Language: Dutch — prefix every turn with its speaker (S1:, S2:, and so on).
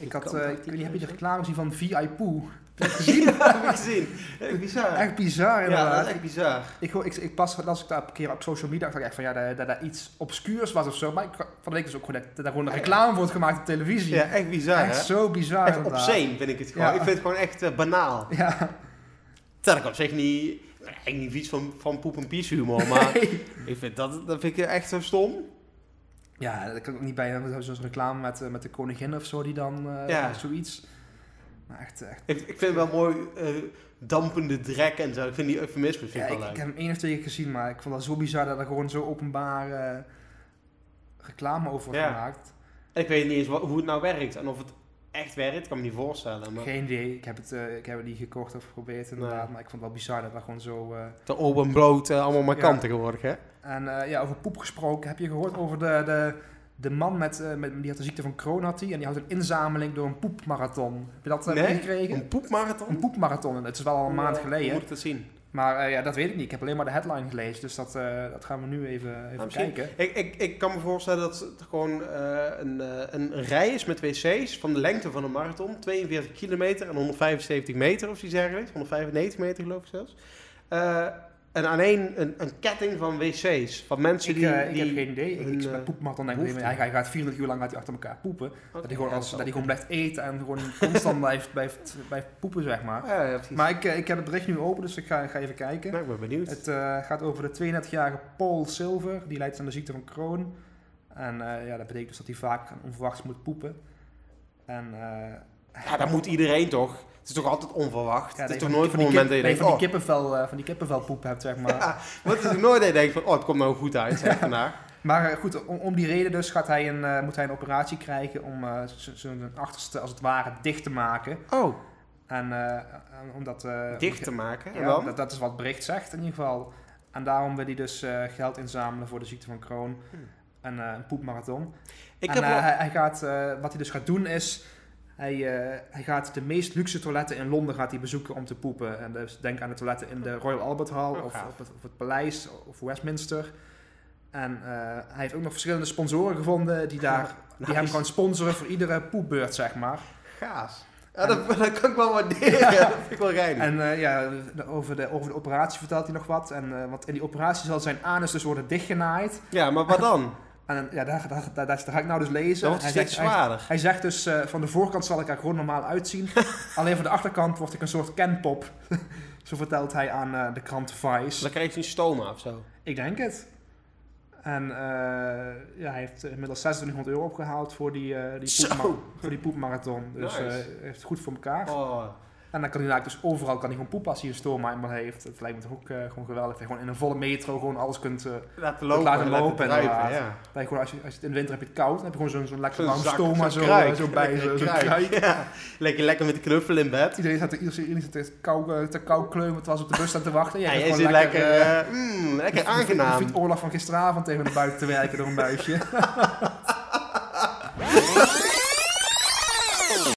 S1: Ik had, eh, ik weet niet, heb je de reclame gezien van VI Poo?
S2: dat heb ik gezien. Echt bizar.
S1: Echt bizar
S2: ja, dat
S1: inderdaad.
S2: is echt bizar.
S1: Ik, hoor- ik, ik pas, las ik daar een keer op social media, dacht ik echt van ja, dat dat daar iets obscuurs was of zo. Maar ik, van de week is ook gewoon dat dat daar gewoon een reclame wordt gemaakt op televisie.
S2: Ja, echt bizar,
S1: echt
S2: hè?
S1: zo bizar
S2: Echt
S1: inderdaad.
S2: obscene vind ik het gewoon.
S1: Ja.
S2: Ik vind het gewoon echt eh, banaal.
S1: Ja,
S2: Terwijl ik op zich niet... Ik niet iets van, van poep en pies humor, maar ik vind dat, dat vind ik echt zo stom.
S1: ja dat kan ik ook niet bij. Zo'n reclame met, eh, met de koningin of zo, die dan eh,
S2: Ja.
S1: zoiets. Maar echt, eh, echt.
S2: Ik, ik vind wel mooi eh, dampende drek en zo. Ik vind die eufemisme
S1: Ja,
S2: vind ik
S1: ik,
S2: wel
S1: ik
S2: leuk.
S1: heb hem één of twee keer gezien, maar ik vond dat zo bizar dat er gewoon zo openbaar eh, reclame over wordt
S2: Ja.
S1: gemaakt.
S2: En ik weet niet eens wa- hoe het nou werkt en of het echt werkt. kan me niet voorstellen. Maar
S1: Geen idee. Ik heb het, eh, ik heb het niet gekocht of geprobeerd inderdaad, maar ik vond het wel bizar dat dat gewoon zo... eh,
S2: de open en bloot, eh, allemaal maar
S1: Ja.
S2: kanten geworden, hè?
S1: En eh, ja, over poep gesproken, heb je gehoord over de, de, de man met, eh, met, die had de ziekte van Crohn had die, en die houdt een inzameling door een poepmarathon. Heb je dat eh, meegekregen?
S2: een
S1: Een
S2: poepmarathon?
S1: poepmarathon, en het is wel al een
S2: Oh.
S1: maand geleden.
S2: Hoe moet ik dat zien?
S1: Maar eh, ja, dat weet ik niet. Ik heb alleen maar de headline gelezen, dus dat, eh, dat gaan we nu even, even
S2: Nou, misschien-
S1: kijken.
S2: Ik, ik, ik kan me voorstellen dat het gewoon eh, een, eh, een rij is met wc's van de lengte van een marathon. 42 kilometer en 175 meter of iets dergelijks. 195 meter geloof ik zelfs. Eh, en aan één een, een ketting van wc's. Van mensen
S1: Ik,
S2: die...
S1: eh, ik
S2: die
S1: heb geen idee. Ik,
S2: hun,
S1: ik
S2: eh,
S1: met poepmarathon denk ik, alleen maar, hij,
S2: behoeften.
S1: hij gaat 24 uur lang gaat hij achter elkaar poepen. dat hij gewoon,
S2: Ja,
S1: als,
S2: zal-
S1: dat hij gewoon blijft eten en gewoon constant blijft, blijft, blijft poepen, zeg maar.
S2: Ja, ja, precies.
S1: Maar ik, eh, ik heb het bericht nu open, dus ik ga, ik ga even kijken.
S2: Nou, ik ben benieuwd.
S1: Het eh, gaat over de 32-jarige Paul Silver. Die lijdt aan de ziekte van Crohn. En eh, ja, dat betekent dus dat hij vaak onverwachts moet poepen. En, eh
S2: ja, dat moet iedereen toch? Het is toch altijd onverwacht?
S1: ja,
S2: het
S1: dat
S2: is toch
S1: je
S2: nooit
S1: van
S2: een
S1: die
S2: moment
S1: kip-
S2: dat
S1: nee,
S2: je denkt...
S1: van die
S2: oh,
S1: kippenvel, eh, van die kippenvelpoep hebt, zeg maar.
S2: ja, maar het is toch nooit dat je denkt van... Oh, het komt nou goed uit zeg, vandaag.
S1: Maar eh, goed, om, om die reden dus gaat hij een, eh, moet hij een operatie krijgen om eh, z- zijn achterste als het ware dicht te maken.
S2: Oh,
S1: En eh, en omdat... eh,
S2: dicht te maken. en
S1: Ja,
S2: dan?
S1: dat, dat is wat het bericht zegt in ieder geval. En daarom wil hij dus eh, geld inzamelen voor de ziekte van Crohn.
S2: Hmm.
S1: En eh, een poepmarathon.
S2: ik
S1: en,
S2: heb
S1: eh,
S2: wel-
S1: hij, hij gaat, eh, wat hij dus gaat doen is, hij, eh, hij gaat de meest luxe toiletten in Londen gaat hij bezoeken om te poepen. En dus denk aan de toiletten in de Royal Albert Hall
S2: Oh,
S1: of,
S2: gaaf.
S1: of het, of het Paleis of Westminster. En eh, hij heeft ook nog verschillende sponsoren gevonden die, daar, die hem
S2: Nice.
S1: gewoon sponsoren voor iedere poepbeurt, zeg maar.
S2: Gaas. Ja, dat, dat kan ik wel waarderen. Dat vind ik wel geinig.
S1: En eh, ja, de- over de, over de operatie vertelt hij nog wat. En, eh, want in die operatie zal zijn anus dus worden dichtgenaaid.
S2: ja, maar wat dan?
S1: En eh, ja, daar, daar, daar, daar ga ik nou dus lezen.
S2: Dat wordt
S1: Hij
S2: steeds
S1: zegt- hij-
S2: zwaarder.
S1: Hij zegt dus, eh, van de voorkant zal ik er gewoon normaal uitzien. Alleen van de achterkant word ik een soort kenpop. Zo vertelt hij aan eh, de krant
S2: Dus
S1: Vice.
S2: dan krijg je een stoma of zo.
S1: Ik denk het. En eh, ja, hij heeft inmiddels 2600 euro opgehaald voor die, eh, die,
S2: Zo.
S1: poepma- voor die poepmarathon. Dus eh,
S2: Nice.
S1: hij heeft het goed voor elkaar.
S2: Oh,
S1: En dan kan hij eigenlijk dus overal kan hij gewoon poepen als hij een stoma eenmaal heeft. Dat lijkt me toch ook eh, gewoon geweldig. Dat je gewoon in een volle metro gewoon alles kunt... eh,
S2: laten
S1: lopen,
S2: Laten
S1: laten
S2: lopen
S1: drijven,
S2: inderdaad. ja.
S1: dat je gewoon, als, je, als je het in de winter heb je het koud, dan heb je gewoon zo'n zo'n lekker warm
S2: zak,
S1: stoma
S2: zo'n
S1: zo,
S2: kruik.
S1: eh, zo bij je.
S2: Lekker
S1: Zo'n
S2: kruik.
S1: kruik.
S2: Ja. Lekker, lekker met de knuffel in bed.
S1: Iedereen zat, iedereen, iedereen zat te kou, eh, te kou kleumen, het was op de bus aan te wachten.
S2: Ja,
S1: gaat
S2: jij
S1: gewoon
S2: zit lekker,
S1: eh,
S2: eh, mm, lekker
S1: de Piet- de
S2: aangenaam.
S1: Piet Oorlog van gisteravond tegen de buik te werken door een buisje.